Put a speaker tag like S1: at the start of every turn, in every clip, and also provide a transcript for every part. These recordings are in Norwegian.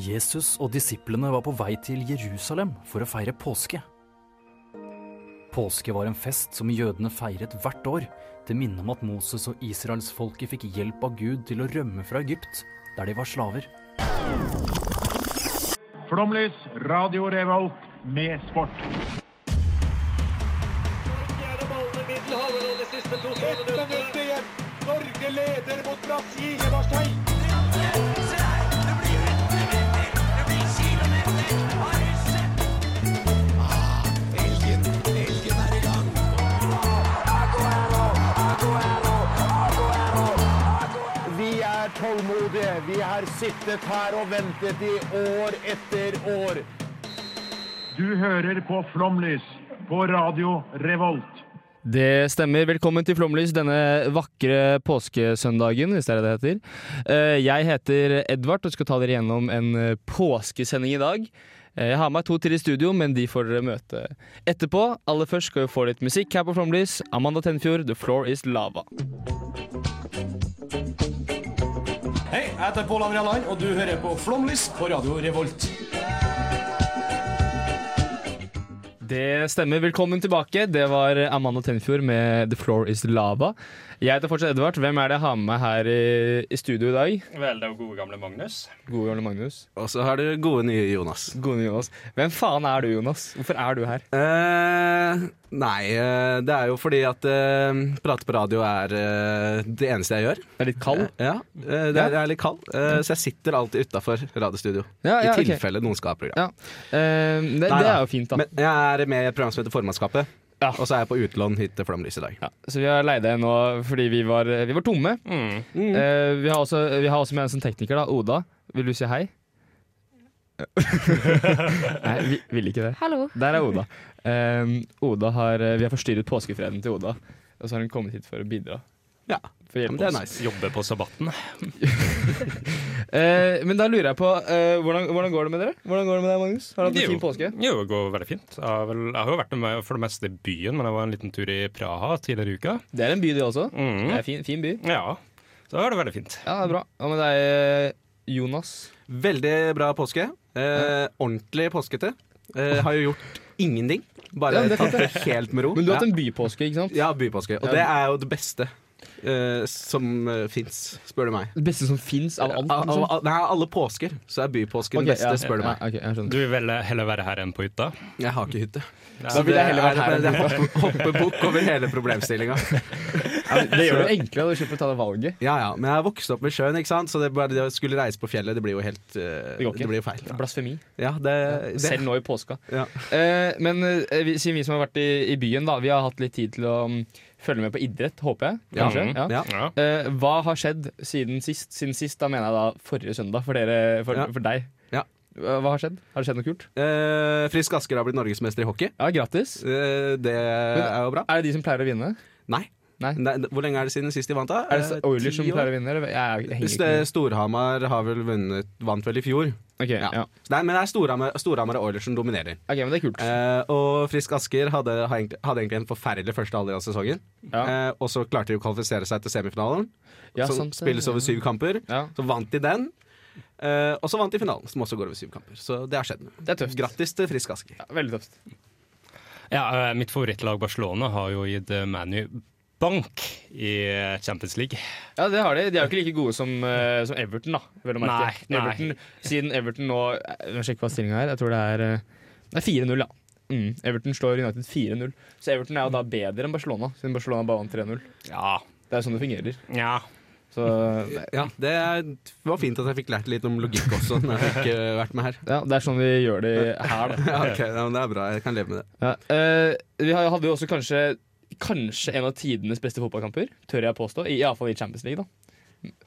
S1: Jesus og disiplene var på vei til Jerusalem for å feire påske. Påske var en fest som jødene feiret hvert år, til minne om at Moses og israelsfolket fikk hjelp av Gud til å rømme fra Egypt, der de var slaver.
S2: Flomlys, Radio Revolt med sport.
S3: Ett minutt igjen. Norge leder mot Brasil. Barstein.
S4: Vi er tålmodige. Vi har sittet her og ventet i år etter år.
S2: Du hører på Flomlys på Radio Revolt.
S5: Det stemmer. Velkommen til Flomlys denne vakre påskesøndagen, hvis det er det det heter. Eh, Jeg heter Edvard og skal ta dere gjennom en eh, påskesending i dag. Eh, Jeg har med meg to til i studio, men de får dere møte etterpå. Aller først skal vi få litt musikk her på Flomlys. Amanda Tenfjord, 'The Floor Is Lava'.
S6: Hei, jeg heter Pål André Land, og du hører på Flomlys på Radio Revolt.
S5: Det stemmer. Velkommen tilbake. Det var Amanda Tenfjord med 'The Floor Is Lava'. Jeg heter fortsatt Edvard. Hvem er det jeg har med meg her i, i studio i dag?
S7: Vel, det er jo gode gamle Magnus.
S5: Gode gamle Magnus.
S8: Og så har dere gode nye Jonas.
S5: Gode Jonas. Hvem faen er du, Jonas? Hvorfor er du her?
S8: Eh, nei, eh, det er jo fordi at eh, prate på radio er eh, det eneste jeg gjør.
S5: Det er litt kald.
S8: Ja, eh, det er, Jeg er litt kald, eh, så jeg sitter alltid utafor radiostudio.
S5: Ja, ja,
S8: I
S5: ok.
S8: tilfelle noen skal ha program.
S5: Ja. Eh, det,
S8: Nei,
S5: det
S8: da.
S5: er jo fint, da.
S8: Men jeg er med i et program som heter Formannskapet,
S5: Ja.
S8: og så er jeg på utlån hit til Flomlys i dag.
S5: ja, så vi har leid deg nå fordi vi var, vi var tomme. Eh, vi, har også, vi har også med en som tekniker, da. Oda. Vil du si hei? Nei, vi vil ikke det.
S9: Hallo.
S5: Der er Oda. Eh, Oda har, vi har forstyrret påskefreden til Oda, og så har hun kommet hit for å bidra.
S8: Ja,
S5: For å hjelpe
S8: men Det er
S5: oss.
S8: nice.
S7: Jobber på sabbaten.
S5: Eh, men da lurer jeg på, eh, hvordan, hvordan går det med dere? Hvordan går det med deg, Magnus? Har du hatt en fin påske?
S7: Jo, det går veldig fint. Jeg har, vel, jeg har jo vært med for det meste i byen, men jeg var en liten tur i Praha tidligere i uka.
S5: Det er en by, det også. Det
S7: Mm.
S5: er en fin, fin by.
S7: Ja, så da var det veldig fint.
S5: Ja, det er bra. Hva med deg, Jonas?
S8: Veldig bra påske. Eh, ordentlig påskete. Eh, har jo gjort ingenting.
S5: Ja,
S8: Bare
S5: men det er
S8: tatt
S5: fint,
S8: det helt med ro.
S5: Men du har
S8: Ja.
S5: hatt en bypåske, ikke sant?
S8: Ja, bypåske. Og
S5: Ja.
S8: det er jo det beste eh, som uh, fins, spør du meg.
S5: Det beste som fins av alt?
S8: Av-
S5: liksom.
S8: av- av- nei, av alle påsker så er bypåske
S5: Ok,
S8: det beste,
S5: ja,
S8: spør du
S5: ja,
S8: meg.
S5: ok, jeg skjønner.
S7: Du vil vel heller være her enn på hytta?
S8: Jeg har ikke hytte.
S5: Da ville jeg heller vært her.
S8: Det er bare- det er hoppe- hoppe bukk over hele problemstillinga.
S5: det gjør det enklere, og du slipper å ta det valget.
S8: Ja, ja. Men jeg er vokst opp ved sjøen, ikke sant? så det, bare, det å skulle reise på fjellet, det blir jo helt eh,
S5: går ikke.
S8: Det blir jo feil.
S5: Blasfemi.
S8: Ja, det, det,
S5: Selv nå i påska.
S8: Ja.
S5: Eh, men eh, vi, siden vi som har vært i, i byen, da, vi har hatt litt tid til å mm, følge med på idrett, håper jeg.
S8: Ja. Mm.
S5: Kanskje? Ja.
S8: Ja.
S7: Ja.
S5: Eh, hva har skjedd siden sist? Siden sist, da mener jeg da forrige søndag, for, dere, for,
S8: Ja.
S5: for deg.
S8: Ja.
S5: Hva hva har skjedd? Har det skjedd noe kult?
S8: Eh, Frisk Asker har blitt norgesmester i hockey.
S5: Ja, gratis.
S8: Eh, det er jo bra.
S5: Er det de som pleier å vinne?
S8: Nei.
S5: Nei.
S8: Nei, Hvor lenge er det siden sist de vant, da?
S5: Er det
S8: Eh,
S5: Oilers
S8: ti
S5: som
S8: år?
S5: pleier å vinne? eller? Jeg, jeg henger
S8: Hvis
S5: ikke
S8: det-
S5: med.
S8: Storhamar har vel vunnet, vant vel i fjor.
S5: Ok, ja.
S8: Ja. Så Nei, men det er Storhamar, Storhamar og Oilers som dominerer.
S5: Ok, men det er kult.
S8: Eh, og Frisk Asker hadde, har egentlig- hadde egentlig en forferdelig første halvdel av sesongen.
S5: Ja.
S8: Eh, og så klarte de å kvalifisere seg til semifinalen,
S5: Ja, sånn
S8: som
S5: sant det.
S8: spilles over syv kamper.
S5: Ja.
S8: Så vant de den. Eh, og så vant de finalen, som også går over syv kamper. Så det har skjedd. noe.
S5: Det er tøft.
S8: Grattis til Frisk Asker.
S5: Ja, veldig tøft.
S7: Ja, eh, mitt favorittlag Barcelona har jo gitt eh, ManU bank i eh, Champions League.
S5: Ja, det har de. De er jo ikke like gode som, eh, som Everton, da. Vel å merke.
S7: Nei, nei.
S5: Everton, siden Everton nå Jeg må sjekke hva stillinga er. Jeg tror det er, eh, det er 4-0, ja. Mm. Everton slår United 4-0. Så Everton er jo da bedre enn Barcelona, siden Barcelona bare vant 3-0.
S7: Ja.
S5: Det er jo sånn det fungerer.
S7: ja.
S5: Så det,
S8: Ja, det er- var fint at jeg fikk lært litt om logikk også, når jeg ikke har vært med her.
S5: ja, det er sånn vi gjør det her, da.
S8: Ja, ok, ja, men Det er bra. Jeg kan leve med det.
S5: Ja. eh, vi har- hadde jo også kanskje Kanskje en av tidenes beste fotballkamper, tør jeg påstå. I- Iallfall i Champions League, da.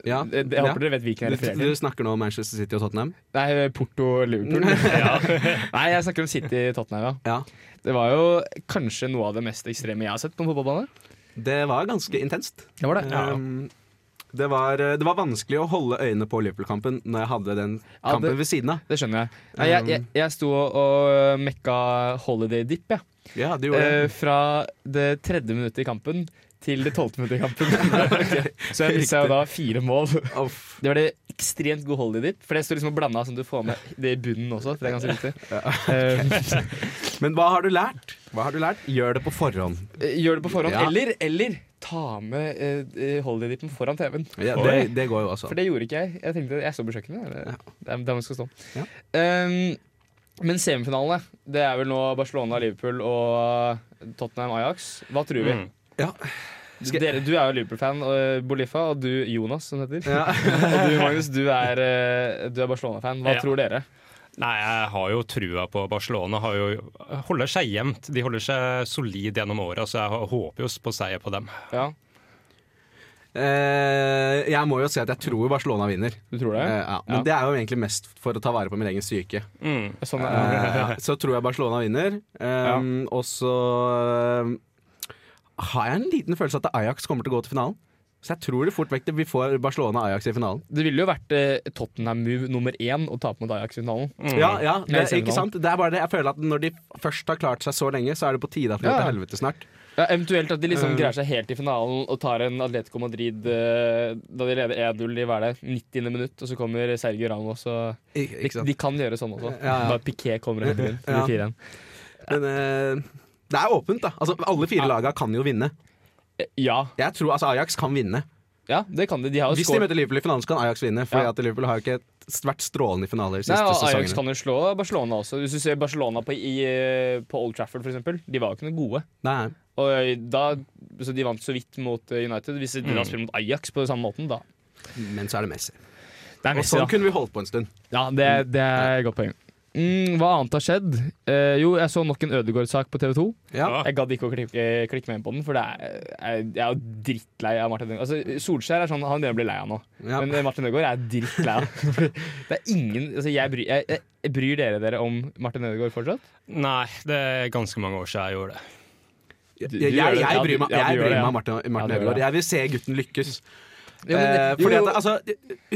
S8: Ja.
S5: Jeg, jeg
S8: Ja.
S5: håper dere vet hvilken jeg
S8: Du,
S5: refererer til.
S8: du snakker nå om Manchester City og Tottenham?
S5: Nei, Porto Liverpool. Nei, jeg snakker om City Tottenham, ja.
S8: Ja.
S5: Det var jo kanskje noe av det mest ekstreme jeg har sett på en fotballbane.
S8: Det var ganske intenst.
S5: Det var det.
S7: Ja.
S8: Um, det, var, eh, det var vanskelig å holde øynene på Liverpool-kampen når jeg hadde den
S5: Ja,
S8: kampen
S5: det-
S8: ved siden av.
S5: Det skjønner jeg. Nei, jeg, jeg, jeg sto og- og mekka holiday dip, jeg.
S8: Ja, det
S5: Eh, fra det tredje minuttet i kampen til det tolvte minuttet i kampen. Så jeg missa jo da fire mål.
S8: Uff.
S5: Det var det ekstremt gode holdet ditt, for det står liksom og blanda sånn at du får med det i bunnen også. For det er ganske viktig. Eh,
S8: Men hva har du lært? Hva har du lært? Gjør det på forhånd.
S5: Eh, gjør det på forhånd.
S8: Ja.
S5: Eller, eller ta med eh, holdet ditt foran TV-en.
S8: Ja,
S7: Oi.
S8: det, det går jo også.
S5: For det gjorde ikke jeg. Jeg tenkte jeg så på kjøkkenet. eller- Det er der man skal stå.
S8: Ja.
S5: Um, men semifinalene, det er vel nå Barcelona, Liverpool og eh, Tottenham, Ajax. Hva tror vi?
S7: Mm.
S8: Ja. Skal-
S5: Dere, du er jo Liverpool-fan, og eh, Bolifa, og du Jonas, som det heter.
S8: Ja.
S5: og du, Magnus, du er, eh, du er Barcelona-fan. Hva
S7: Ja.
S5: tror dere?
S7: Nei, jeg har jo trua på Barcelona. Har jo, holder seg jevnt. De holder seg solid gjennom året, så jeg håper jo på seier på dem.
S5: Ja,
S8: Eh, jeg må jo si at jeg tror Barcelona vinner.
S5: du tror det?
S8: Eh, ja. Men
S5: Ja.
S8: det er jo egentlig mest for å ta vare på min egen syke.
S7: Mm.
S5: Sånn, er det.
S8: Eh, ja. Så tror jeg Barcelona vinner. Um, Og så um, har jeg en liten følelse at Ajax kommer til å gå til finalen. Så jeg tror det fort vekk det vi får Barcelona-Ajax i finalen.
S5: det ville jo vært eh, Tottenham-move nummer én å tape mot Ajax i finalen.
S8: Ja, ja,
S5: Nei,
S8: det,
S5: semifinalen.
S8: ikke sant? Det er bare det. Jeg føler at når de først har klart seg så lenge, så er det på tide at de går
S5: Ja.
S8: til helvete snart.
S5: Ja, eventuelt at de liksom
S8: Eh.
S5: greier seg helt i finalen og tar en Atletico Madrid eh, da de leder 1-0 i hva er det, 90. minutt, og så kommer Sergio Ramos og
S8: I,
S5: de,
S8: ikke sant?
S5: de kan gjøre sånn også.
S8: Ja, ja.
S5: Bare Piqué kommer helt inn.
S8: Ja.
S5: blir 4-1.
S8: Men eh, det er åpent, da. Altså, alle fire laga kan jo vinne.
S5: Eh, Ja,
S8: Jeg tror altså, Ajax kan vinne.
S5: ja, det kan de. De har jo
S8: Hvis de
S5: scoret.
S8: møter Liverpool i finalen, så kan Ajax vinne. Fordi
S5: Ja.
S8: at Liverpool har jo ikke vært strålende i finaler de
S5: Nei,
S8: siste
S5: og
S8: sesongene.
S5: Ajax kan jo slå Barcelona også. Hvis du ser Barcelona på, i, eh, på Old Trafford, f.eks. De var jo ikke noe gode.
S8: Nei.
S5: Og eh, da, så de vant så vidt mot eh, United. Hvis de
S8: Mm.
S5: da spiller mot Ajax på den samme måten, da
S8: Men så er det Messi.
S5: Det er
S8: Og sånn kunne vi holdt på en stund.
S5: Ja, det, det er et godt poeng. Mm, hva annet har skjedd? Eh, jo, jeg så nok en Ødegaard-sak på TV 2.
S8: Ja.
S5: Jeg gadd ikke å klikke, klikke meg inn på den, for det er, jeg, jeg er jo drittlei av Martin Ødegaard. Altså, Solskjær er sånn, han begynner å bli lei av nå.
S8: Ja.
S5: Men eh, Martin Ødegaard er drittlei av. Fordi det er ingen altså, jeg bryr, jeg, jeg, bryr dere dere om Martin Ødegaard fortsatt?
S7: Nei, det er ganske mange år siden jeg gjorde det.
S8: Jeg,
S5: Du- du
S8: jeg,
S5: gjør det.
S8: jeg bryr
S5: Ja, du-
S8: meg
S5: ja, du
S8: jeg
S5: gjør
S8: bryr
S5: det,
S8: meg
S5: ja.
S8: om Martin,
S5: Ja,
S8: Martin
S5: du gjør
S8: Ødegaard.
S5: det.
S8: Jeg vil se gutten lykkes.
S5: Jo, men-
S8: eh,
S5: jo,
S8: fordi
S5: jo.
S8: at, altså,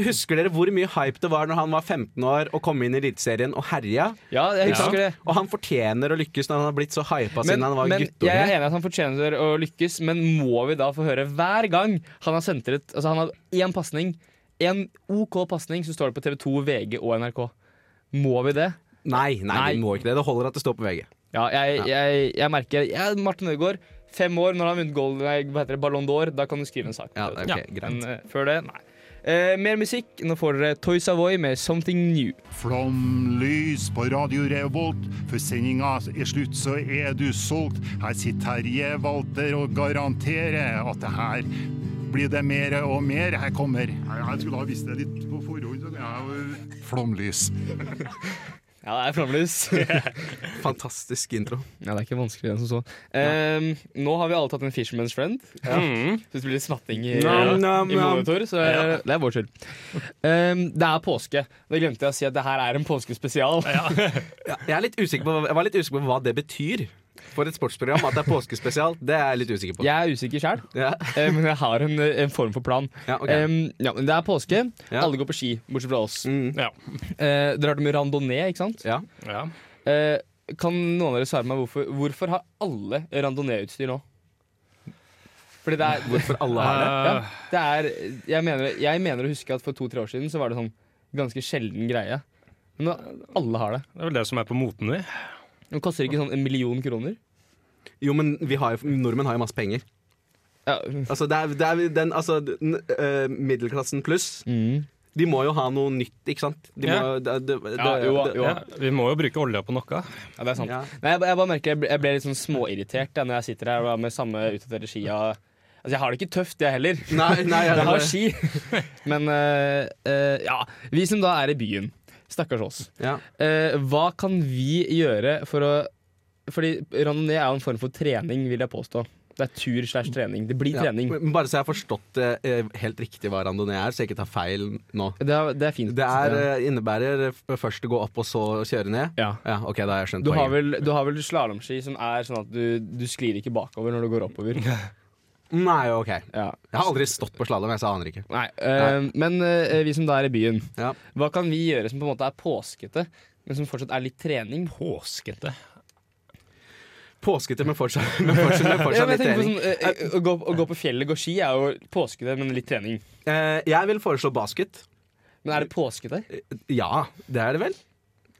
S8: husker dere hvor mye hype det var når han var 15 år og kom inn i Eliteserien og herja?
S5: ja, jeg
S8: Ikke sant?
S5: husker det.
S8: Og han fortjener å lykkes når han har blitt så hypa Altså, siden han var
S5: men jeg er
S8: guttunge.
S5: enig i at han fortjener å lykkes, men må vi da få høre hver gang han har sentret Altså, han har én pasning, én OK pasning, så står det på TV2, VG og NRK. Må vi det?
S8: Nei, nei,
S5: Nei.
S8: vi må ikke det. Det holder at det står på VG.
S5: Ja, jeg, jeg, jeg merker ja, Martin Ødegaard, fem år, når han har vunnet Golden, nei, hva heter det, Ballon d'Or, da kan du skrive en sak.
S8: Ja, ok,
S5: Men
S8: greit.
S5: eh, før det, nei. Eh, mer musikk. Nå får dere Toy Savoy med 'Something New'.
S2: Flomlys på Radio Revolt, for sendinga er slutt, så er du solgt. Her sitter Terje Walter og garanterer at det her blir det mer og mer. Her kommer Jeg skulle ha visst det litt på forhånd. så jeg er jo- Flomlys.
S5: Ja, det er flammelys.
S8: Fantastisk intro.
S5: ja, det er ikke vanskeligere enn som så. Eh, Nå har vi alle tatt en Fisherman's Friend.
S7: Mm.
S5: Så det blir litt smatting i,
S8: Nam,
S5: i
S8: nam, nam.
S5: monitor, så eh, det er vår skyld. Eh, det er påske. Da glemte jeg å si at det her er en påskespesial.
S8: Jeg, er litt usikker på, jeg var litt usikker på hva det betyr for et sportsprogram. At det er påskespesial, det er jeg litt usikker på.
S5: Jeg er usikker sjæl,
S8: Ja.
S5: eh, men jeg har en, en form for plan.
S8: Ja, ok.
S5: Eh, ja, men det er påske.
S8: Ja.
S5: Alle går på ski, bortsett fra oss.
S7: Ja.
S5: Eh, dere har det med randonee, ikke sant?
S8: Mm. ja.
S7: ja.
S5: Eh, kan noen av dere svare meg hvorfor, hvorfor har alle randonee-utstyr nå? Fordi det er,
S8: Hvorfor alle har det?
S5: ja, det er jeg, mener, jeg mener å huske at for to-tre år siden så var det sånn ganske sjelden greie. Men nå, alle har det.
S7: Det er vel det som er på moten nå.
S5: Det koster ikke sånn en million kroner.
S8: Jo, men vi har jo, nordmenn har jo masse penger.
S5: Ja. mm.
S8: Altså, det er, det er den, altså den, øh, Middelklassen pluss. De må jo ha noe nytt, ikke sant? De må,
S7: Ja.
S8: det, det, det,
S5: Ja, jo,
S8: det-
S5: jo.
S7: Ja, vi må jo bruke olja på noe.
S5: Ja, det er sant.
S8: Ja.
S5: Nei, jeg, ba- jeg bare merker jeg ble, jeg ble litt sånn småirritert da, når jeg sitter her da, med samme utdaterte skia. Altså, jeg har det ikke tøft, jeg heller.
S8: Nei, nei, ja,
S5: jeg har
S8: det-
S5: ski. Men eh, eh, ja, vi som da er i byen. Stakkars oss.
S8: ja.
S5: Eh, hva kan vi gjøre for å Fordi randonee er jo en form for trening, vil jeg påstå. Det er tur slash trening. Det blir
S8: Ja.
S5: trening.
S8: Men Bare så jeg har forstått det eh, helt riktig hva randonee er, så jeg ikke tar feil nå.
S5: Det er, det er fint.
S8: Det er, eh, innebærer f- først å gå opp og så kjøre ned.
S5: Ja.
S8: Ja, ok, da har jeg skjønt
S5: Du har
S8: poenget.
S5: vel, du har vel slalåmski som er sånn at du, du sklir ikke bakover når du går oppover.
S8: Nei, ok.
S5: Ja.
S8: Jeg har aldri stått på slalåm, jeg, så jeg aner ikke.
S5: Nei, eh, Men eh, vi som da er i byen,
S8: Ja.
S5: hva kan vi gjøre som på en måte er påskete, men som fortsatt er litt trening?
S7: Påskete.
S8: Påskete, men fortsatt, men fortsatt, men fortsatt
S5: Ja, men
S8: Altså, litt
S5: jeg tenker på
S8: trening.
S5: sånn, eh, eh, å, gå, å gå på fjellet, gå ski, er jo påskete, men litt trening.
S8: Eh, jeg vil foreslå basket.
S5: Men er det påskete?
S8: Ja, det er det vel.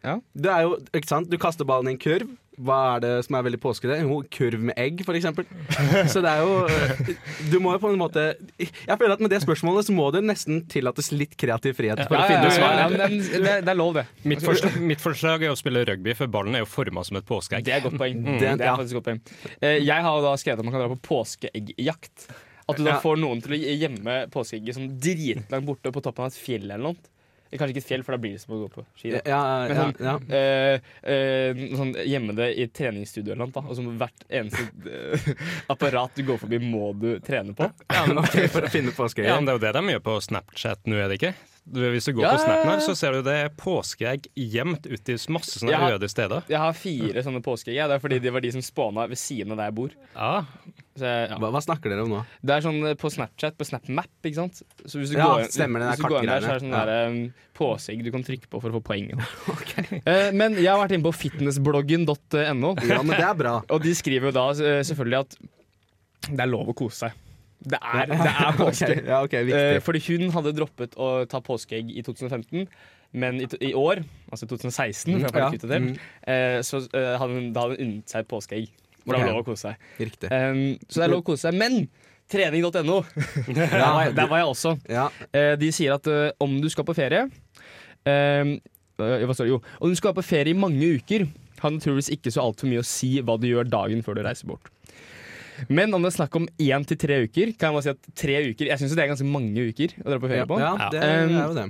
S5: Ja.
S8: Det er jo, ikke sant? Du kaster ballen i en kurv. Hva er det som er veldig påskete? Jo, kurv med egg, for eksempel. Så det er jo eh, Du må jo på en måte Jeg føler at med det spørsmålet så må det nesten tillates litt kreativ frihet for
S5: Ja,
S8: å
S5: ja,
S8: finne
S5: ja,
S8: svar.
S5: ja, men det, er- det er- det er lov, det.
S7: Mitt forslag, mitt forslag er å spille rugby, for ballen er jo forma som et påskeegg.
S5: Det er et godt poeng.
S8: Det-
S5: Det er
S8: Mm. ja.
S5: faktisk et godt poeng. Eh, Jeg har jo da skrevet at man kan dra på påskeeggjakt. At du da
S8: Ja.
S5: får noen til å gjemme påskeegget som dritlangt borte på toppen av et fjell eller noe. Eh, Kanskje ikke et fjell, for da blir det som å gå på ski.
S8: Ja,
S5: Da.
S8: ja, ja, ja.
S5: Eh, eh, sånn, gjemme det i et treningsstudio eller noe. da. Og så hvert eneste eh, apparat du går forbi, må du trene på.
S8: ja, men ok, For å finne påskeegg.
S7: Ja, men Det er jo det de gjør på Snapchat nå, er det ikke? Du, hvis du går
S5: Ja,
S7: på
S5: ja, ja.
S7: Snap her, så ser du det er påskeegg gjemt ute i masse sånne
S5: Ja.
S7: øde steder.
S5: Jeg har fire sånne påskeegg. jeg. Det er fordi de var de som spåna ved siden av der jeg bor.
S7: Ja,
S5: Så jeg, ja.
S8: Hva, hva snakker dere om nå?
S5: Det er sånn eh, på Snapchat, på SnapMap, ikke sant? Så hvis du
S8: Ja,
S5: går, inn-
S8: stemmer, den
S5: hvis
S8: der
S5: du går inn der, så er det
S8: kartgreiene.
S5: sånn der, em, påsegg du kan trykke på for å få poeng. Eh, men jeg har vært inne på fitnessbloggen.no,
S8: Ja, men det er bra.
S5: og de skriver jo da eh, selvfølgelig at det er lov å kose seg. Det er, det er påske.
S8: Ok, ja, ok,
S5: Eh,
S8: viktig.
S5: fordi hun hadde droppet å ta påskeegg i 2015, men i, to- i år, altså 2016, for jeg
S8: Mm, Ja,
S5: fant ikke ut av det, eh, så eh, hadde hun, da hadde hun unnet seg et påskeegg. For det
S8: Ok.
S5: var lov å kose seg.
S8: Riktig.
S5: Um, så det er lov å kose seg. Men trening.no, der, var jeg- der var jeg også.
S8: Ja,
S5: Eh, de sier at eh, om du skal på ferie ehm, eh, Hva står det? Jo, om du skal på ferie i mange uker, har det naturligvis ikke så altfor mye å si hva du gjør dagen før du reiser bort. Men om det er snakk om én til tre uker, kan jeg bare si at tre uker Jeg syns det er ganske mange uker å dra på ferie
S8: ja,
S5: på.
S8: ja, det er
S5: Um,
S8: jo det.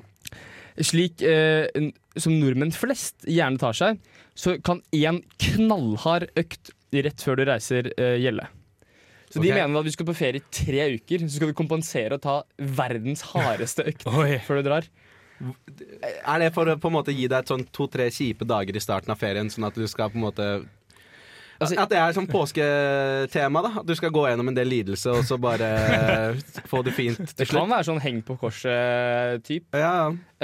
S5: Slik eh, n- som nordmenn flest gjerne tar seg, så kan én knallhard økt rett før du reiser eh, gjelde. Så de
S8: Ok.
S5: mener at hvis du skal på ferie i tre uker, så skal du kompensere og ta verdens hardeste økt
S7: Oi.
S5: før du drar.
S8: Er det for å på en måte gi deg et sånn to-tre kjipe dager i starten av ferien, sånn at du skal på en måte
S5: Altså-
S8: At det er sånn påsketema, da. At du skal gå gjennom en del lidelse, og så bare få det fint
S5: Det
S8: til
S5: kan
S8: slutt.
S5: være sånn heng på korset-typ.
S8: Ja,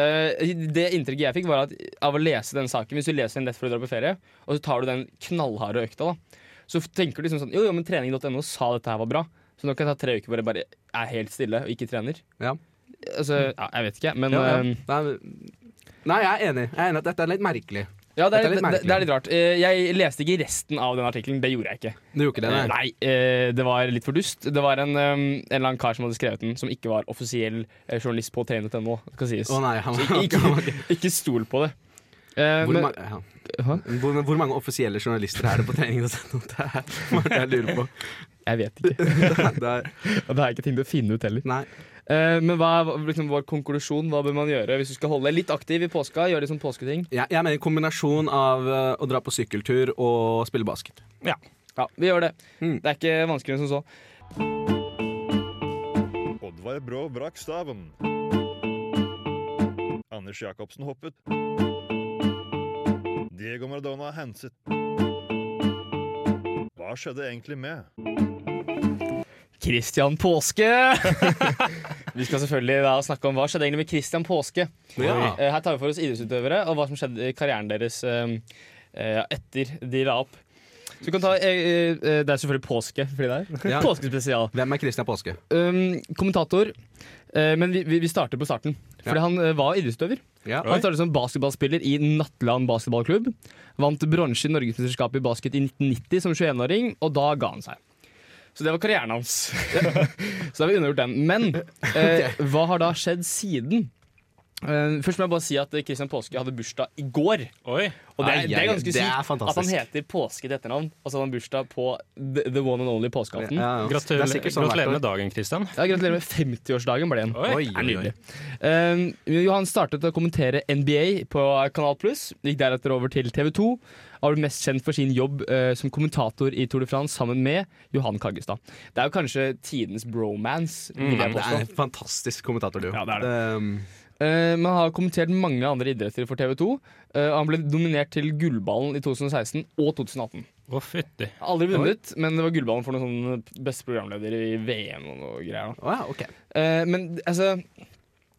S5: det inntrykket jeg fikk, var at av å lese den saken Hvis du leser den rett før du drar på ferie, og så tar du den knallharde økta, da, så f- tenker du liksom sånn Jo, jo, men trening.no sa dette her var bra, så nå kan jeg ta tre uker hvor jeg bare er helt stille og ikke trener.
S8: ja.
S5: Altså, ja, jeg vet ikke, men eh, ehm, øhm,
S8: ja, ja. Nei, men- Nei, jeg er enig. Jeg er enig at dette er litt merkelig.
S5: Ja, det
S8: Dette
S5: er,
S8: er litt
S5: litt, det,
S8: merkelig.
S5: det er litt rart. Eh, Jeg leste ikke resten av den artikkelen. Det gjorde jeg ikke.
S8: Du gjorde ikke det?
S5: Eh,
S8: Nei.
S5: Nei, eh, det var litt for dust. Det var en, um, en eller annen kar som hadde skrevet den, som ikke var offisiell eh, journalist på trening.no. Skal sies.
S8: Å nei, han,
S5: Ikke- ikke, ikke stol på det. Eh,
S8: hvor,
S5: men,
S8: ma- ja.
S5: Hæ?
S8: hvor, hvor mange offisielle journalister er det på trening.no? Det er det jeg lurer på.
S5: jeg vet ikke.
S8: Det er,
S5: Og det er ikke ting til å finne ut heller.
S8: nei.
S5: Eh, men hva er hva- liksom, vår konklusjon? Hva bør man gjøre hvis du skal holde deg litt aktiv i påska? Gjøre litt sånn påsketing.
S8: Jeg, jeg mener kombinasjon av eh, å dra på sykkeltur og spille basket.
S5: Ja, vi gjør det.
S8: Mm.
S5: Det er ikke vanskeligere enn som så.
S9: Oddvar Brå brakk staven. Anders Jacobsen hoppet. Diego Maradona henset. Hva skjedde egentlig med?
S5: Christian Påske! vi skal selvfølgelig da snakke om hva skjedde egentlig med Christian Påske.
S8: Ja.
S5: Eh, Her tar vi for oss idrettsutøvere og hva som skjedde i karrieren deres eh, eh, etter de la opp. Så vi kan ta, eh, eh, Det er selvfølgelig påske, fordi det er
S8: Ja.
S5: påskespesial.
S8: Hvem er Christian Påske?
S5: Um, kommentator, eh, men vi, vi vi starter på starten. Fordi
S8: Ja.
S5: han eh, var idrettsutøver.
S8: Ja.
S5: Han startet som basketballspiller i Nattland basketballklubb. Vant bronse i norgesmesterskapet i basket i 1990 som 21-åring, og da ga han seg. Så det var karrieren hans. så da har vi undergjort den. Men eh, hva har da skjedd siden? Eh, først må jeg bare si at eh, Christian Påske hadde bursdag i går.
S7: Oi.
S5: Og det er,
S8: Ai,
S5: det er
S8: ai,
S5: ganske
S8: det er
S5: sykt at han
S8: fantastisk.
S5: heter Påske til etternavn, og så hadde han bursdag på the, the one and only påskeaften. Ja,
S8: Ja, ja. Det
S7: Gratulerer,
S8: er sikkert sånn
S7: gratulerer
S8: hvert
S7: med dagen, Christian.
S5: Gratulerer med 50-årsdagen, ble det.
S7: Oi.
S8: år.
S5: Det
S8: Oi,
S5: er
S8: oi, oi.
S5: nydelig. Um, Johan startet å kommentere NBA på Kanal Pluss, gikk deretter over til TV 2. Har blitt mest kjent for sin jobb eh, som kommentator i Tour de France sammen med Johan Kaggestad. Det er jo kanskje tidens bromance, vil jeg
S8: Mm, Det er
S5: påstå.
S8: en fantastisk kommentator, du.
S5: Mm. Ja, det er det.
S8: Um,
S5: Eh, man har kommentert mange andre idretter for TV 2. Eh, han ble nominert til Gullballen i 2016 og 2018.
S7: Å, fytti.
S5: Har Aldri vunnet, men det var Gullballen for noen sånn beste programleder i VM og noe greier. da.
S8: å ja, ok.
S5: Eh, men altså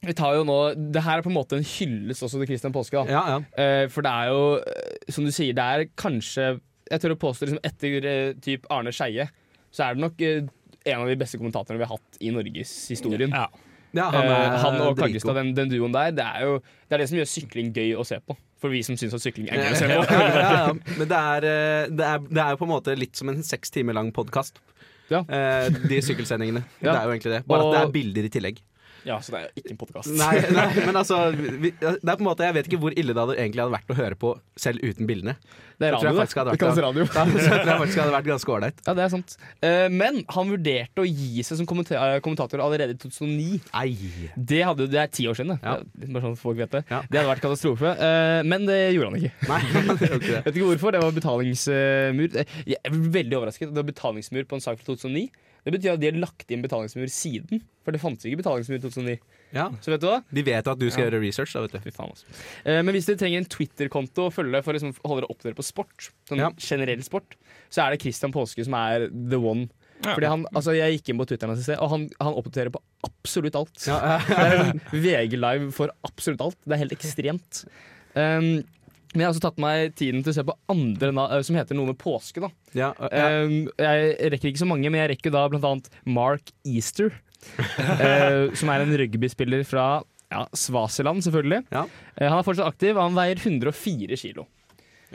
S5: vi tar jo nå, Det her er på en måte en hyllest også til Christian Påske. da.
S8: Ja, ja.
S5: Eh, for det er jo, eh, som du sier, det er kanskje jeg tør å påstå liksom, etter eh, typ Arne Skeie, så er det nok eh, en av de beste kommentatorene vi har hatt i norgeshistorien.
S7: Ja.
S8: Ja,
S5: Han,
S8: er
S5: Eh, han og
S8: dritgod.
S5: Kaggestad, den, den duoen der, det er jo det er det som gjør sykling gøy å se på. For vi som syns at sykling er gøy å se
S8: ja,
S5: på.
S8: ja, ja. Men det er, eh, det, er, det er jo på en måte litt som en seks timer lang podkast.
S5: Ja.
S8: De sykkelsendingene.
S5: Ja.
S8: Det er jo egentlig det. Bare
S5: Og-
S8: at det er bilder i tillegg.
S5: Ja, så det er jo ikke en podkast.
S8: Nei, nei, men altså vi, Det er på en måte, Jeg vet ikke hvor ille det hadde egentlig hadde vært å høre på selv uten bildene.
S5: Det er
S8: tror jeg
S5: radio,
S8: faktisk hadde
S5: da.
S8: vært
S5: Det kalles radio.
S8: Da, så jeg tror jeg faktisk hadde vært ganske ålreit.
S5: Ja, det er sant. Eh, men han vurderte å gi seg som kommenta- eh, kommentator allerede i 2009.
S8: Ei.
S5: Det, hadde, det er ti år siden, det.
S8: Ja.
S5: Det er Bare sånn at folk vet det.
S8: Ja.
S5: Det hadde vært katastrofe. eh, men det gjorde han ikke.
S8: Nei, det er jo ikke det.
S5: Vet ikke hvorfor. Det var betalingsmur. Eh, Jeg er veldig overrasket. Det var betalingsmur på en sak fra 2009. Det betyr at de har lagt inn betalingsmur siden. For det fantes ikke betalingsmur i 2009.
S8: Ja,
S5: Så vet du hva?
S8: De vet jo at du skal gjøre research, da, vet du.
S5: Fy faen, altså. Eh, men hvis dere trenger en Twitter-konto å følge for å liksom holde dere oppdatert på sport, sånn
S8: Ja.
S5: generell sport, så er det Christian Påske som er the one.
S7: Ja.
S5: Fordi han, altså Jeg gikk inn på Twitteren hans i sted, og han, han oppdaterer på absolutt alt.
S8: Ja,
S5: Det er sånn VG Live for absolutt alt. Det er helt ekstremt. Um, men jeg har også tatt meg tiden til å se på andre na eh, som heter noe med påske. da
S8: ja, ja.
S5: Um, jeg rekker ikke så mange, men jeg rekker da blant annet Mark Easter. eh, som er en rugbyspiller fra ja, Svaziland, selvfølgelig.
S8: Ja.
S5: Eh, han er fortsatt aktiv, og han veier 104 kilo.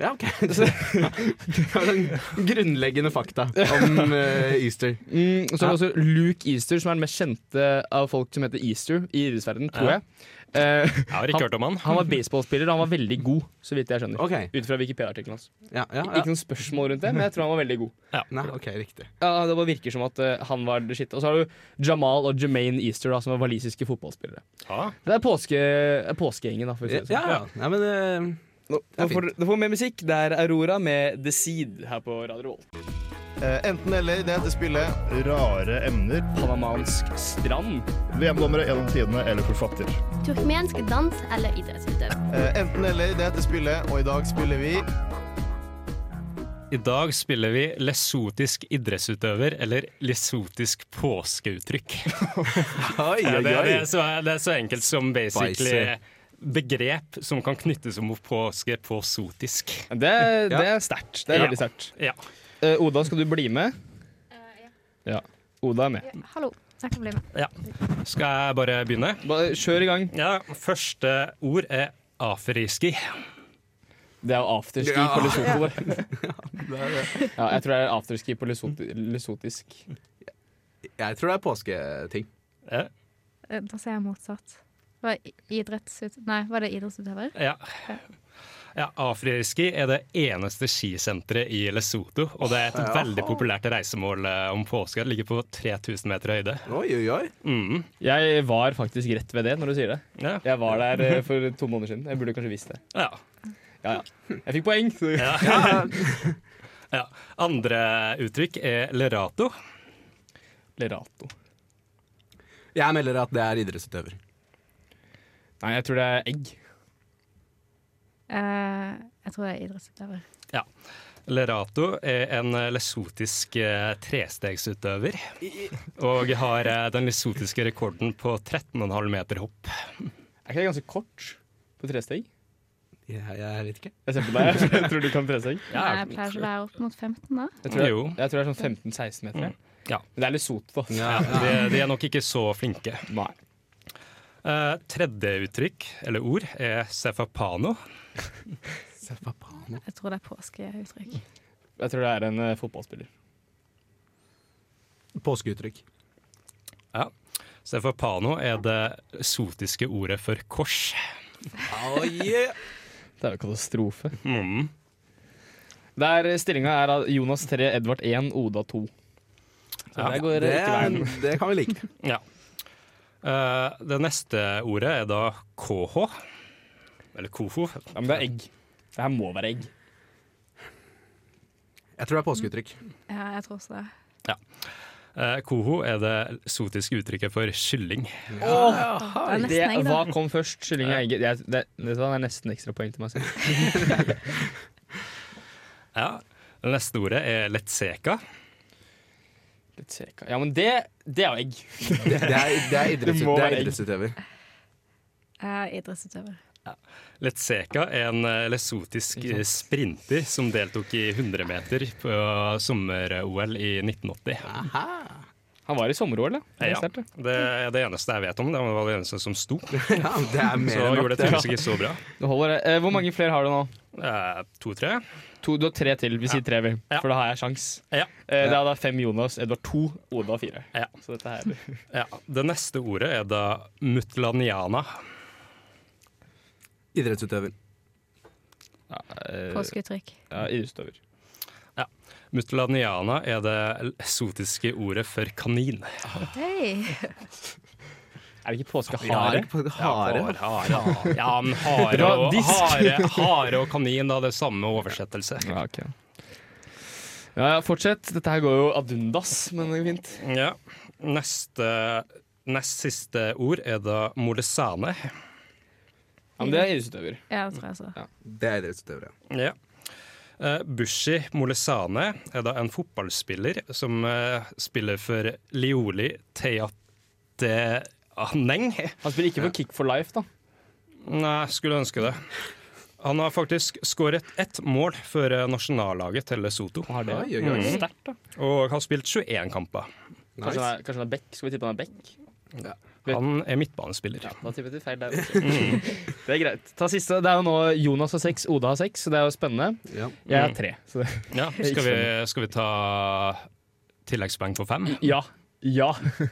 S8: Ja, ok. Så, det var sånn grunnleggende fakta om eh, Easter.
S5: Mm, og så er
S8: Ja.
S5: det også Luke Easter, som er den mest kjente av folk som heter Easter i idrettsverdenen, tror
S7: Ja.
S5: jeg. Eh,
S7: Jeg har ikke hørt om han.
S5: han var baseballspiller, og han var veldig god, så vidt jeg skjønner.
S8: Ok,
S5: Ut fra Wikipedia-artikkelen hans.
S8: ja, ja, ja.
S5: Ikke noen spørsmål rundt det, men jeg tror han var veldig god.
S8: Nei, ok, riktig.
S5: Ja, Det bare virker som at eh, han var det shit. Og så har du Jamal og Jermaine Easter, da, som er walisiske fotballspillere.
S7: Ja.
S5: Det er påske, eh, påskegjengen, da. For å si
S8: Ja,
S5: det sånn.
S8: ja. Nei, men eh,
S5: Nå,
S8: er
S5: nå får du får mer musikk. Det er Aurora med The Seed her på Radio Volt.
S4: Eh, enten eller, det heter spillet.
S9: Rare emner.
S5: Panamansk strand.
S9: VM-dommere gjennom tidene eller forfatter.
S10: Turkmensk dans eller idrettsutøver.
S4: Eh, enten eller, det heter spillet, og i dag spiller vi
S7: I dag spiller vi lesotisk idrettsutøver eller lesotisk påskeuttrykk.
S8: Oi,
S7: Det,
S8: oi,
S7: det,
S8: oi.
S7: er så, det er så enkelt som basically
S8: Spicy.
S7: begrep som kan knyttes om påske på sotisk.
S5: Det, det er sterkt. Det er
S7: Ja.
S5: veldig sterkt.
S7: Ja.
S5: Eh, Oda, skal du bli med? Ja. Oda er med.
S10: Hallo, jeg kan bli med.
S7: ja. Skal jeg bare begynne?
S5: Bare kjør i gang.
S7: Ja, første ord er aferiski.
S5: Det er jo afterski
S8: Ja.
S5: på Lesotho. det. ja, jeg tror det er afterski på lesoti lesotisk.
S8: Jeg tror det er påsketing.
S7: Ja.
S10: Eh, Da sier jeg motsatt. Var, i- idrettsut Nei, var det idrettsutøver?
S7: Ja. Ja, Afriski er det eneste skisenteret i Lesotho, og det er et veldig populært reisemål eh, om påske. Det ligger på 3000 meter høyde.
S8: Oi, oi, oi.
S7: Mm.
S5: Jeg var faktisk rett ved det når du sier det.
S7: Ja.
S5: Jeg var der eh, for to måneder siden. Jeg burde kanskje visst det.
S7: Ja.
S5: Ja, ja. Jeg fikk poeng. så-
S7: Ja. Andre uttrykk er lerato.
S5: Lerato.
S8: Jeg melder at det er idrettsutøver.
S5: Nei, jeg tror det er egg.
S10: Eh, jeg tror det er idrettsutøver.
S7: Lerato er en eh, lesotisk eh, trestegsutøver, og har eh, den lesotiske rekorden på 13,5 meter hopp.
S5: Er ikke det ganske kort på tresteg?
S8: Jeg, jeg vet ikke.
S5: Jeg ser på deg. Jeg tror du kan tresteg.
S10: Nei, Eh, jeg pleier ikke å være opp mot 15 da.
S5: Jeg tror,
S7: Jo.
S5: jeg, jeg tror det er sånn 15-16 meter. jeg.
S7: Ja.
S5: Men det er Lesotho, da.
S7: Ja, de, de er nok ikke så flinke.
S5: Nei.
S7: Eh, tredje uttrykk, eller ord, er sefapano.
S8: Se, hva faen.
S10: Jeg tror det er påskeuttrykk.
S5: Jeg tror det er en eh, fotballspiller.
S8: Påskeuttrykk.
S7: Sefapano er det sotiske ordet for kors.
S8: Oi, yeah.
S5: Det er jo katastrofe.
S7: Mm.
S5: Der Stillinga er av Jonas 3, Edvard 1, Oda 2. Så
S7: Ja.
S5: der går
S8: det,
S5: det ikke veien.
S8: det kan vi like.
S7: Ja. Eh, det neste ordet er da KH. Eller KOHO.
S5: Ja, men det er egg. Det her må være egg.
S8: Jeg tror det er påskeuttrykk.
S10: Ja, jeg tror også det.
S7: Eh, KOHO er det sotiske uttrykket for kylling.
S10: Det er nesten egg,
S5: hva
S10: da.
S5: kom først? Kylling og egg? Det, er- det, vet du hva, det er nesten ekstra poeng til meg selv.
S7: Ja. Det neste ordet er letseka.
S5: Litt seka. Ja, men det, det er jo egg.
S8: Det, det er, det er, idrettsut,
S5: Det må
S8: det
S5: være
S8: er
S5: egg.
S8: idrettsutøver.
S10: Jeg er idrettsutøver.
S7: Letseka er en eh, lesotisk eh, sprinter som deltok i 100 meter på sommer-OL i 1980.
S5: Han var i sommer-OL, da. Det er
S7: Ja,
S5: sterkt, det.
S7: det er det eneste jeg vet om. Det var det eneste som sto.
S5: det er mer
S7: så
S5: enn nok,
S7: gjorde
S5: det.
S7: det tydeligvis ikke så bra. Eh,
S5: Det holder, det. Eh, Hvor mange flere har du nå?
S7: To-tre.
S5: du har tre til. Vi sier tre, vi. For da har jeg sjans. Eh, da hadde jeg fem Jonas, Edvard to, Oda fire. Så dette her
S7: Ja, Det neste ordet er da mutlaniana.
S8: Idrettsutøver.
S10: Påskeuttrykk.
S5: eh, Ja, idrettsutøver.
S7: Ja. Mutlaniana er det esotiske ordet for kanin.
S10: Hei!
S5: Er det ikke
S7: Ja,
S5: påskehare?
S7: det er ikke påske-
S5: Ja,
S7: hare. hare, hare. Ja, men hare
S5: Bra
S7: og,
S5: disk.
S7: hare, hare og kanin, da. Det er samme oversettelse.
S5: Ja, Ja, ja, fortsett. Dette her går jo ad undas, men det er fint.
S7: Neste Nest siste ord er da molesane.
S5: Ja, men det er idrettsutøver.
S10: Ja, det tror jeg så.
S7: Det er idrettsutøvere. Ja. Eh, Bushi Molesane er da en fotballspiller som eh, spiller for Lioli Teateneng.
S5: Han spiller ikke for Kick for Life, da?
S7: Nei, skulle ønske det. Han har faktisk skåret ett mål for eh, nasjonallaget til Lesotho.
S5: Har det? Oi, oi, oi. Sterkt, da.
S7: Og har spilt 21 kamper.
S5: Mm. Kanskje, han er, kanskje han er back? Skal vi tippe han er back?
S7: Han er midtbanespiller.
S5: Da tippet vi feil der også. Mm. Det er greit. Ta siste. Det er jo nå Jonas har seks, Oda har seks, så det er jo spennende.
S8: Ja.
S5: Jeg har tre. Så det.
S7: Ja, skal, vi, skal vi ta tilleggspoeng på fem?
S5: Ja. Ja.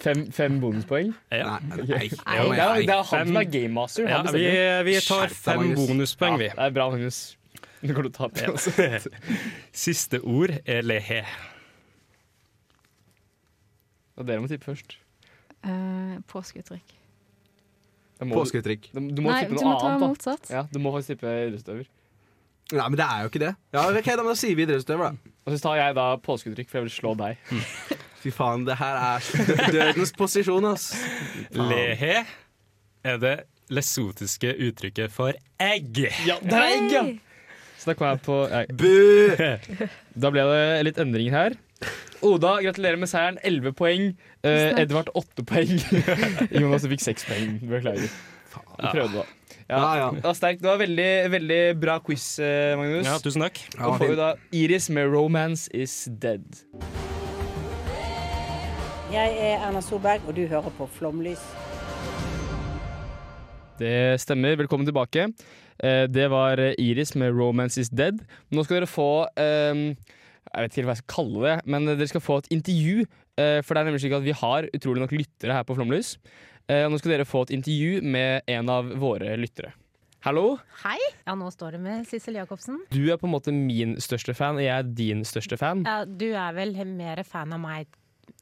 S5: Fem, fem bonuspoeng?
S7: Ja.
S5: Ok.
S7: Nei,
S5: Nei, det er, det er han som er gamemaster.
S7: Ja,
S5: Han bestemmer.
S7: vi- vi tar Skjerp deg, fem Magnus. bonuspoeng, vi.
S5: Ja, det er bra, Magnus. Nå kan du ta det. altså.
S7: Ja. Siste ord er lehe.
S5: Og dere må tippe først.
S10: Eh, påskeuttrykk.
S5: Da må du-
S8: Påskeuttrykk.
S5: Du, du må
S10: Nei,
S5: tippe
S10: du
S5: noe
S10: må ta
S5: annet. da.
S10: motsatt.
S5: Ja, du må faktisk tippe idrettsutøver.
S8: Nei, men det er jo ikke det. Ja, ok, da, men da sier vi idrettsutøver, da.
S5: Og så tar jeg da påskeuttrykk, for jeg vil slå deg.
S8: Fy faen, det her er dødens posisjon, ass.
S7: Lehe er det lesotiske uttrykket for egg.
S5: Ja, det er egg, ja! Så da kom jeg på
S8: Bu!
S5: Da ble det litt endringer her. Oda, gratulerer med seieren. 11 poeng. Eh,
S8: Tusen takk.
S5: Edvard 8 poeng. Jonas du fikk 6 poeng. Beklager. Du prøvde, da. Ja, Det, var sterkt. det var veldig, veldig bra quiz, eh, Magnus.
S7: Ja, tusen takk.
S5: Da får vi da Iris med 'Romance Is Dead'.
S11: Jeg er Erna Solberg, og du hører på Flomlys.
S5: Det stemmer. Velkommen tilbake. Eh, Det var Iris med 'Romance Is Dead'. Nå skal dere få eh, Jeg vet ikke helt hva jeg skal kalle det, men dere skal få et intervju. eh, For det er nemlig slik at vi har utrolig nok lyttere her på Flomlys. Eh, og Nå skal dere få et intervju med en av våre lyttere. Hallo.
S12: Hei! Ja, nå står det med Sissel Jacobsen.
S5: Du er på en måte min største fan, og jeg er din største fan.
S12: Ja, du er vel mer fan av meg,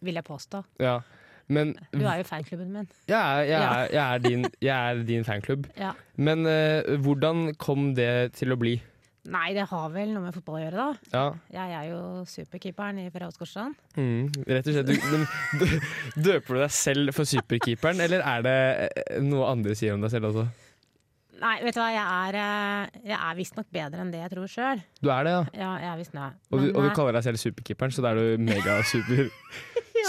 S12: vil jeg påstå.
S5: Ja. Men
S12: Du er jo fanklubben min.
S5: Jeg er, jeg
S12: Ja.
S5: er, jeg er, din, jeg er din fanklubb.
S12: Ja.
S5: Men eh, hvordan kom det til å bli?
S12: Nei, det har vel noe med fotball å gjøre, da.
S5: Ja,
S12: Jeg er jo superkeeperen i Ferre Åsgårdstrand.
S5: Mm, rett og slett. Du, men, d- døper du deg selv for superkeeperen, eller er det eh, noe andre sier om deg selv også?
S12: Nei, vet du hva, jeg er, eh, jeg er visstnok bedre enn det jeg tror sjøl.
S5: Du er det, ja.
S12: Ja, jeg er visst det.
S5: Og du,
S12: Men,
S5: og du
S12: eh,
S5: kaller deg selv superkeeperen, så da er du megasuper.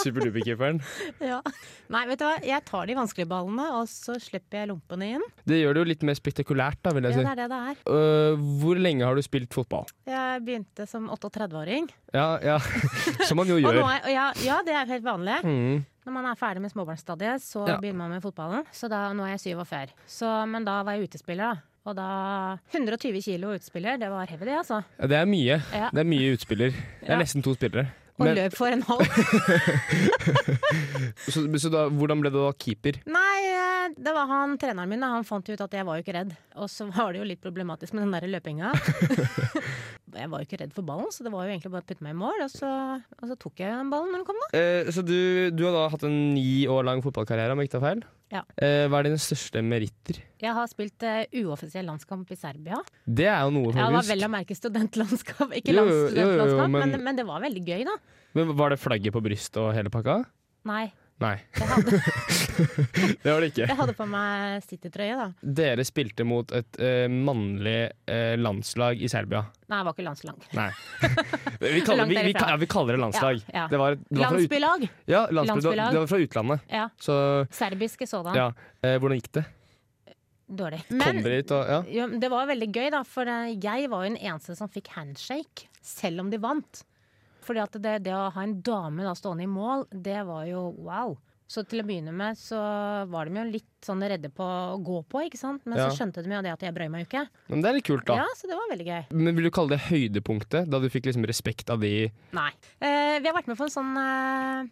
S5: Superduperkeeperen.
S12: eh, ja. Nei, vet du hva, jeg tar de vanskelige ballene, og så slipper jeg lompene inn.
S5: Det gjør det jo litt mer spektakulært, da, vil
S12: Ja,
S5: jeg si.
S12: det er det det er.
S5: Øh, hvor lenge har du spilt fotball?
S12: Jeg begynte som 38-åring.
S5: Ja, ja. Som man jo
S12: Og
S5: gjør.
S12: nå er, og jeg, ja, det er helt vanlig.
S5: Mm.
S12: Når man er ferdig med småbarnsstadiet, så
S5: Ja.
S12: begynner man med fotballen. Så da, nå er jeg 47. Så, men da var jeg utespiller, da. Og da 120 kilo utespiller, det var heavy, det, altså.
S5: Ja, Det er mye.
S12: Ja.
S5: Det er mye utspiller. Det er
S12: Ja.
S5: nesten to spillere.
S12: Og
S5: Men-
S12: løp for en halv.
S5: så så da, hvordan ble du da keeper?
S12: Nei, eh, det var han treneren min, da. Han fant jo ut at jeg var jo ikke redd. Og så var det jo litt problematisk med den der løpinga. jeg var jo ikke redd for ballen, så det var jo egentlig bare å putte meg i mål. Og så, og så tok jeg den ballen når den kom, da.
S5: Eh, så du, du har da hatt en ni år lang fotballkarriere, om jeg ikke tar feil.
S12: Ja.
S5: Eh, hva er dine største meritter?
S12: Jeg har spilt eh, uoffisiell landskamp i Serbia.
S5: Det er jo noe,
S12: Ja, det var
S5: faktisk.
S12: vel å merke studentlandskap. Ikke
S5: Jo, jo, jo, jo,
S12: landsstudentlandskap, men,
S5: men-
S12: men, det var veldig gøy, da.
S5: Men Var det flagget på brystet og hele pakka?
S12: Nei.
S5: Nei. det var det
S12: Jeg
S5: ikke.
S12: hadde på meg City-trøye, da.
S5: Dere spilte mot et eh, mannlig eh, landslag i Serbia.
S12: Nei, jeg var ikke landslag.
S5: Nei. Vi kaller, vi, vi, ja, vi kaller det landslag.
S12: Ja, ja.
S5: Det var, det var fra ut-
S12: Landsbylag.
S5: Ja, landsby, det var-
S12: Landsbylag.
S5: Det var fra utlandet.
S12: Ja.
S5: Så
S12: Serbiske sådan.
S5: ja. Eh, hvordan gikk det?
S12: dårlig.
S5: Kom dere hit og ja.
S12: jo, men det var veldig gøy, da, for eh, jeg var jo den eneste som fikk handshake, selv om de vant. Fordi at det, det å ha en dame da, stående i mål, det var jo wow. Så til å begynne med så var de jo litt sånn redde på å gå på, ikke sant. Men
S5: Ja.
S12: så skjønte de jo det at jeg brøy meg jo ikke.
S5: Men det er litt kult, da.
S12: Ja, så det var veldig gøy.
S5: Men Vil du kalle det høydepunktet, da du fikk liksom respekt av de
S12: Nei. Eh, vi har vært med på en sånn eh,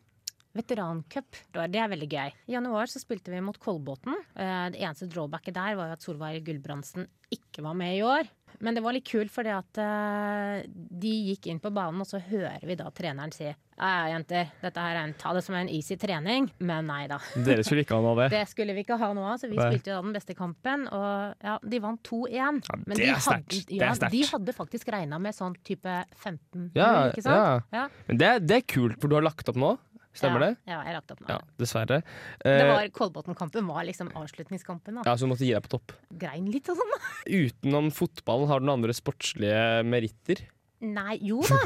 S12: veterancup. Det var- Det er veldig gøy. I januar så spilte vi mot Kolbotn. Eh, det eneste drawbacket der var jo at Solveig Gulbrandsen ikke var med i år. Men det var litt kult, fordi at eh, de gikk inn på banen, og så hører vi da treneren si Ja, ja, jenter, dette her er en, ta det som en easy trening. Men nei da.
S5: Dere skulle ikke ha noe av det.
S12: Det skulle vi ikke ha noe av, så vi
S5: Nei.
S12: spilte jo da den beste kampen. Og ja, de vant 2-1.
S5: det
S12: Men de
S5: er
S12: hadde-
S5: sterkt. Det er
S12: Ja,
S5: sterkt.
S12: de hadde faktisk regna med sånn type 15,
S5: Ja,
S12: Mm, ikke sant?
S5: ja.
S12: Ja.
S5: Men det, er- det er kult, for du har lagt opp nå. Stemmer
S12: ja,
S5: det?
S12: Ja, jeg lagt opp nå.
S5: Ja, dessverre.
S12: Det
S5: Eh,
S12: var Kolbotn-kampen var liksom avslutningskampen. Da.
S5: ja, så du måtte gi deg på topp.
S12: Grein litt og sånn. da.
S5: Utenom fotballen, har du noen andre sportslige meritter?
S12: Nei, jo da.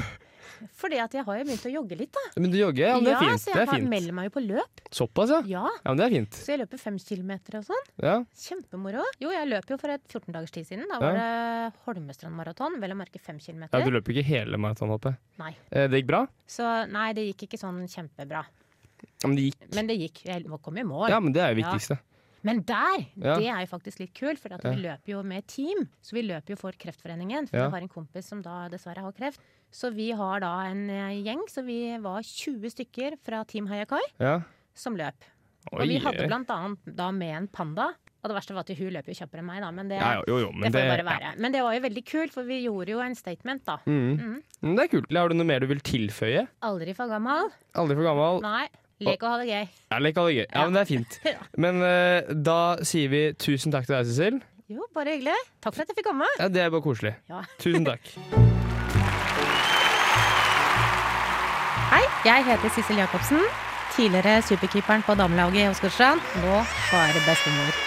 S12: Fordi at jeg har jo begynt å jogge litt, da.
S5: Men du jogger, ja, men det er fint.
S12: så
S5: Det
S12: jeg
S5: er
S12: har-
S5: fint.
S12: melder meg jo på løp.
S5: Såpass, ja?
S12: Ja.
S5: Ja, men det er fint.
S12: Så jeg løper fem kilometer og sånn.
S5: Ja.
S12: Kjempemoro. Jo, jeg løp jo for et 14 dagers tid siden. Da var det Holmestrand maraton. Vel å merke fem kilometer.
S5: ja, du løper ikke hele maraton, håper jeg.
S12: Nei.
S5: Eh, Det gikk bra?
S12: Så nei, det gikk ikke sånn kjempebra.
S5: Ja, men det gikk.
S12: Men det gikk. Jeg kom i mål.
S5: Ja, men det er jo
S12: Ja.
S5: viktigste.
S12: Men der!
S5: Ja.
S12: Det er jo faktisk litt kult, for at vi
S5: Ja.
S12: løper jo med team. Så vi løper jo for Kreftforeningen, for
S5: Ja.
S12: jeg har en kompis som da dessverre har kreft. Så vi har da en eh, gjeng, så vi var 20 stykker fra Team Hayakai
S5: Ja.
S12: som løp.
S5: Oi. eh.
S12: og vi hadde blant annet da med en panda. Og det verste var at hun løper jo kjappere enn meg, da, men det,
S5: Ja, ja, jo, jo, men
S12: det får jo
S5: det-
S12: bare være. Men det var jo veldig kult, for vi gjorde jo en statement, da.
S5: Mm.
S12: Mm.
S5: Men det er kult. Har du noe mer du vil tilføye?
S12: Aldri for gammel.
S5: Aldri for gammel.
S12: Nei. Lek og ha det gøy.
S5: Ja, lek alle gøy. Ja, men det er fint.
S12: Ja.
S5: Men eh, da sier vi tusen takk til deg, Cecil.
S12: Jo, bare hyggelig. Takk for at jeg fikk komme.
S5: Ja, det er bare koselig.
S12: Ja.
S5: Tusen takk.
S12: Hei, jeg heter Sissel Jacobsen. Tidligere superkeeperen på damelaget i Åsgårdstrand. Nå bare bestemor.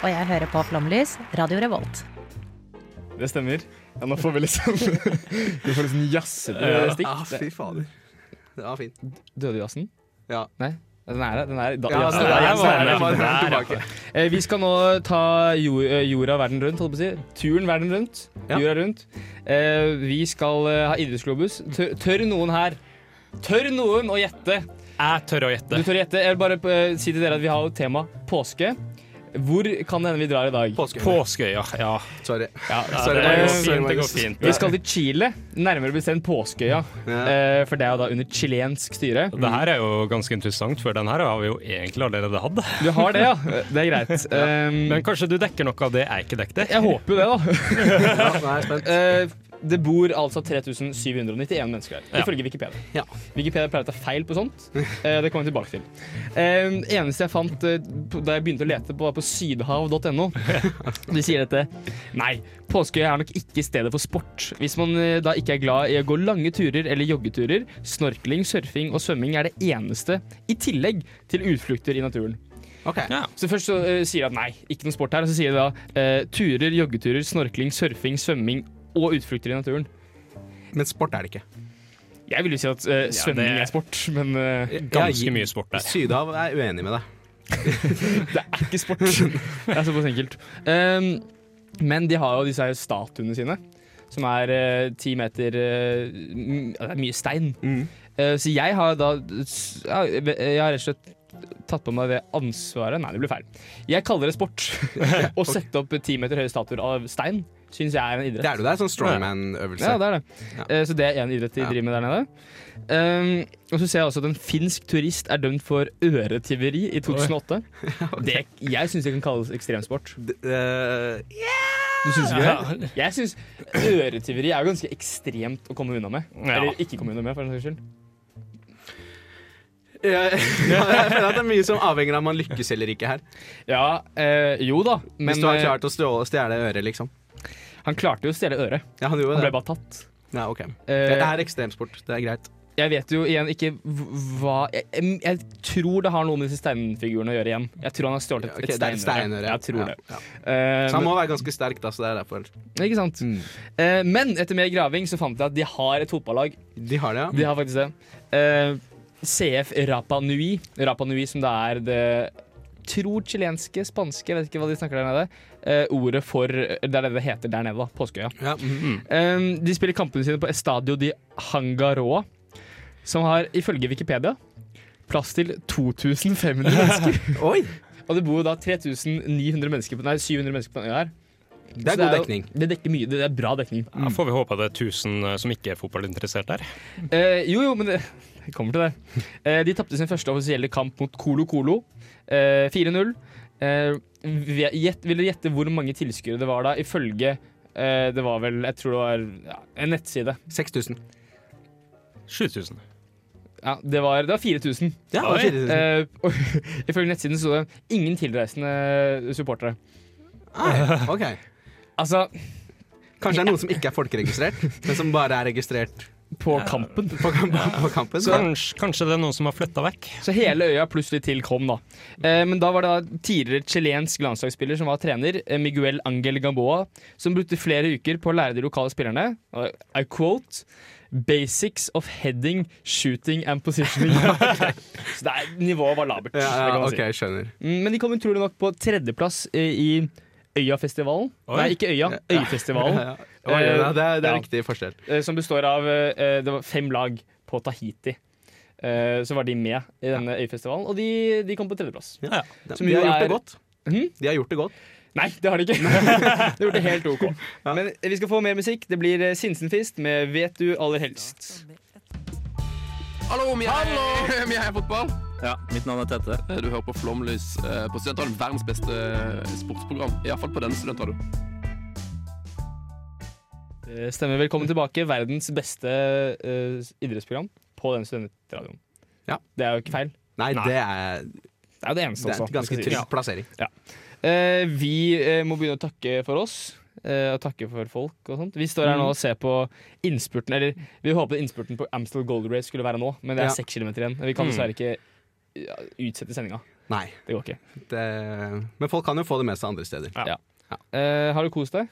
S12: Og jeg hører på Flomlys, Radio Revolt.
S9: Det stemmer. Ja, nå får vi liksom
S5: Du får liksom jazzete
S8: Eh,
S9: Ja.
S5: stikk.
S9: Ah, fy
S5: fader.
S8: Det var fint.
S5: Døde jazzen? Ja. Nei? Den er den er, da,
S8: Ja,
S5: jazzen er- jazzen
S8: den Altså, er-
S5: er-
S8: den er-
S5: jazzen er-
S8: den er
S5: jazzen er-
S8: tilbake.
S5: Eh, Vi skal nå ta jo- eh, jorda verden rundt, holdt på å si. Turen verden rundt. Jorda rundt. Eh, Vi skal eh, ha idrettsglobus. Tør, tør noen her Tør noen å gjette?
S7: Jeg tør å gjette.
S5: Du tør gjette. Jeg vil bare eh, si til dere at vi har jo tema påske. Hvor kan det hende vi drar i dag? Påskeøya.
S7: ja.
S8: Sorry.
S7: Sorry, Magnus.
S5: Eh,
S7: Det går fint.
S5: Vi skal til Chile, nærmere bestemt Påskeøya. Eh, For det er jo da under chilensk styre.
S7: Det her er jo ganske interessant, for den her har vi jo egentlig allerede hatt.
S5: Du har det, ja. Det er greit. Ehm,
S7: Men kanskje du dekker noe av det jeg ikke dekket?
S5: Jeg håper jo det, da. Eh, det bor altså 3791 mennesker her,
S7: Ja.
S5: ifølge Wikipedia. Wikipedia pleier å ta feil på sånt. Eh, det kommer jeg tilbake til. Eh, eneste jeg fant eh, på- da jeg begynte å lete, på, var på sydhav.no. De sier dette. Nei, Påskeøya er nok ikke stedet for sport. Hvis man eh, da ikke er glad i å gå lange turer eller joggeturer, snorkling, surfing og svømming er det eneste, i tillegg til utflukter i naturen. Så først så eh, sier de at nei, ikke noe sport her. Og så sier de da eh, turer, joggeturer, snorkling, surfing, svømming og utflukter i naturen.
S8: Men sport er det ikke.
S5: Jeg vil jo si at eh, svømming
S8: det-
S5: er sport, men eh,
S8: Jeg- Sydhav er uenig med deg.
S5: er ikke sport. Det er såpass enkelt. Um, men de har jo disse her statuene sine, som er eh, ti meter eh, m- ja, Det er mye stein. Eh, så jeg har da s- ja, Jeg har rett og slett tatt på meg det ansvaret Nei, det ble feil. Jeg kaller det sport. Å sette opp ti meter høye statuer av stein syns jeg er en idrett.
S8: Det er jo det, sånn strongman-øvelse.
S5: Ja, det er det. Eh, så det er én idrett de driver med der nede. Um, og så ser jeg også at en finsk turist er dømt for øretyveri i 2008. Det, jeg syns det kan kalles ekstremsport.
S8: eh,
S5: Du syns ikke det? Jeg syns øretyveri er jo ganske ekstremt å komme unna med.
S8: Ja.
S5: Eller ikke komme unna med, for den saks skyld.
S8: Ja, jeg føler at det er mye som avhenger av om man lykkes eller ikke her.
S5: Ja, eh, jo da, men-
S8: Hvis du har klart å stjå- stjele øret, liksom.
S5: Han klarte jo å stjele øret.
S8: Ja, han gjorde
S5: Han ble
S8: det.
S5: bare tatt.
S8: Ja, ok.
S5: Eh,
S8: det er ekstremsport. Det er greit.
S5: Jeg vet jo igjen ikke hv- hva jeg, jeg, jeg tror det har noe med disse steinfigurene å gjøre igjen. Jeg tror han har stjålet et,
S8: Ok,
S5: et
S8: det er et
S5: steinøre.
S8: steinøre.
S5: Jeg tror
S8: Ja,
S5: det.
S8: ja.
S5: Eh,
S8: Så han må
S5: men-
S8: være ganske sterk, da, så det er derfor.
S5: Ikke sant? Eh, men etter mer graving så fant jeg at de har et fotballag.
S8: De har det, ja.
S5: De har faktisk det. Eh, CF Rapa Nui, Rapa Nui som det er det tror chilenske, spanske, jeg vet ikke hva de snakker der nede, eh, ordet for Det er det det heter der nede, da. Påskeøya.
S7: mhm.
S5: Eh, de spiller kampene sine på Estadio di Hangaroa, som har ifølge Wikipedia plass til 2500 mennesker.
S8: Oi!
S5: Og det bor jo da 3900 mennesker på, nei, 700 mennesker på den øya her.
S7: Det er
S5: Så
S7: god
S5: jo-
S7: dekning.
S5: Det dekker mye. Det er bra dekning.
S7: Da får vi håpe det er 1000 som ikke er fotballinteressert der.
S5: Eh, jo, jo, men det jeg kommer til det. Eh, de tapte sin første offisielle kamp mot Colo Colo. Eh, 4-0. Eh, ve- gjett- vil dere gjette hvor mange tilskuere det var da, ifølge eh, Det var vel, jeg tror det var ja, en nettside.
S8: 6000.
S7: 7000.
S5: Ja, det var, det var 4000.
S8: Ja, det var 4000.
S5: Eh, og ifølge nettsiden så det ingen tilreisende supportere.
S8: Ok.
S5: Altså
S8: Kanskje det er noen som ikke er folkeregistrert, men som bare er registrert
S5: På kampen.
S8: På, kam- på kampen.
S5: Så
S7: kanskje, det er noen som har flytta vekk.
S5: Så hele øya plutselig til kom, da. Eh, men da var det da tidligere chilensk landslagsspiller som var trener, eh, Miguel Angel Gamboa, som brukte flere uker på å lære de lokale spillerne og I quote Basics of heading, shooting and positioning. Så det er, nivået var labert.
S8: Ja,
S5: det kan
S8: ja,
S5: man si.
S8: ok, skjønner.
S5: Mm, Men de kom utrolig nok på tredjeplass eh, i Øyafestivalen.
S8: Oi.
S5: Nei, ikke Øya, Øyfestivalen.
S8: Ja, ja. Oi, ja, det er- det er riktig
S5: forskjell. Som består av eh, det var fem lag på Tahiti. Eh, Så var de med i denne Øyfestivalen, og de, de kom på tredjeplass.
S8: Ja. De har gjort det godt.
S5: De har gjort det godt. Nei, det har de ikke. de har gjort det helt OK. Men eh, vi skal få mer musikk. Det blir eh, Sinsenfist med 'Vet du aller helst'.
S13: Hallo, vi er, vi er fotball. Ja, mitt navn er Tette. Du hører på Flomlys eh, på Studentradioen. Verdens beste eh, sportsprogram. Iallfall på denne studentradioen.
S5: Eh, Stemmer. Velkommen tilbake. Verdens beste eh, idrettsprogram på den studentradioen. Det er jo ikke feil.
S8: Nei, det er
S5: Det er jo det eneste,
S8: Det er
S5: altså.
S8: en ganske
S5: skal sies.
S8: trygg plassering.
S5: Ja. Eh, vi eh, må begynne å takke for oss. eh, og takke for folk og sånt. Vi står her nå og ser på innspurten Eller vi håpet innspurten på Amstel Gold Race skulle være nå, men det
S8: Ja.
S5: er seks kilometer igjen. Vi kan
S8: Mm.
S5: dessverre ikke ja, utsette sendinga.
S8: Nei.
S5: Det går ikke.
S8: Det, men folk kan jo få det med seg andre steder.
S5: Ja. Eh, har du kost deg?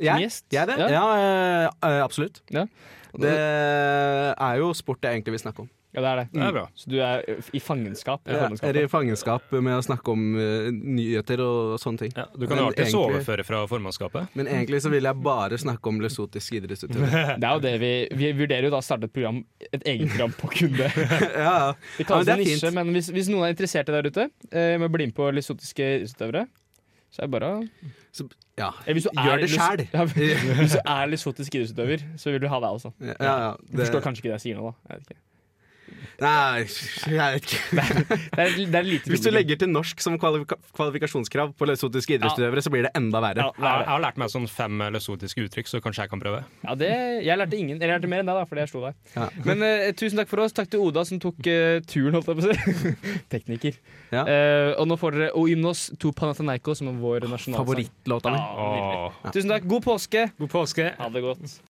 S8: Jeg?
S5: Som gjest?
S8: Jeg det? Ja, eh, eh, absolutt. Det er jo sport jeg egentlig vil snakke om.
S5: Ja, det er det.
S8: Det er bra.
S5: Så du er i fangenskap? i
S8: Ja,
S5: fangenskap,
S8: er i fangenskap med å snakke om eh, nyheter og sånne ting.
S7: Du kan jo alltids overføre fra formannskapet.
S8: Men egentlig så vil jeg bare snakke om lesotisk idrettsutøver.
S5: Det er jo det vi, vi vurderer jo da å starte et program Et eget program på kun det.
S8: ja.
S5: Det kalles
S8: Ja, men det er
S5: en nisje,
S8: fint.
S5: men hvis, hvis noen er interessert i det der ute, eh, med å bli med på lysotiske idrettsutøvere, så er det bare å
S8: ja.
S5: Eller hvis du
S8: Gjør
S5: er
S8: det
S5: lys-
S8: selv.
S5: Ja, hvis du er lysotisk idrettsutøver, så vil du ha deg også.
S8: Ja, ja,
S5: Du
S8: det-
S5: forstår kanskje ikke det jeg sier nå, da. Jeg vet ikke.
S8: Nei, jeg vet ikke.
S5: Det er, det er lite
S8: Hvis du legger til norsk som kvalifika kvalifikasjonskrav på lesotiske idrettsutøvere, så blir det enda verre.
S7: Jeg, jeg har lært meg sånn fem løsotiske uttrykk, så kanskje jeg kan prøve.
S5: Ja, det, jeg lærte ingen Eller jeg lærte mer enn deg, da, fordi jeg slo deg.
S7: Ja.
S5: Men eh, tusen takk for oss. Takk til Oda som tok eh, turen, holdt jeg på å si. Tekniker. Eh, og nå får dere Oymnos to altså. Panathanaiko, som er vår nasjonalsang.
S8: Favorittlåta mi.
S5: Ja, nydelig. Tusen takk. God påske.
S7: God påske.
S5: Ha det godt.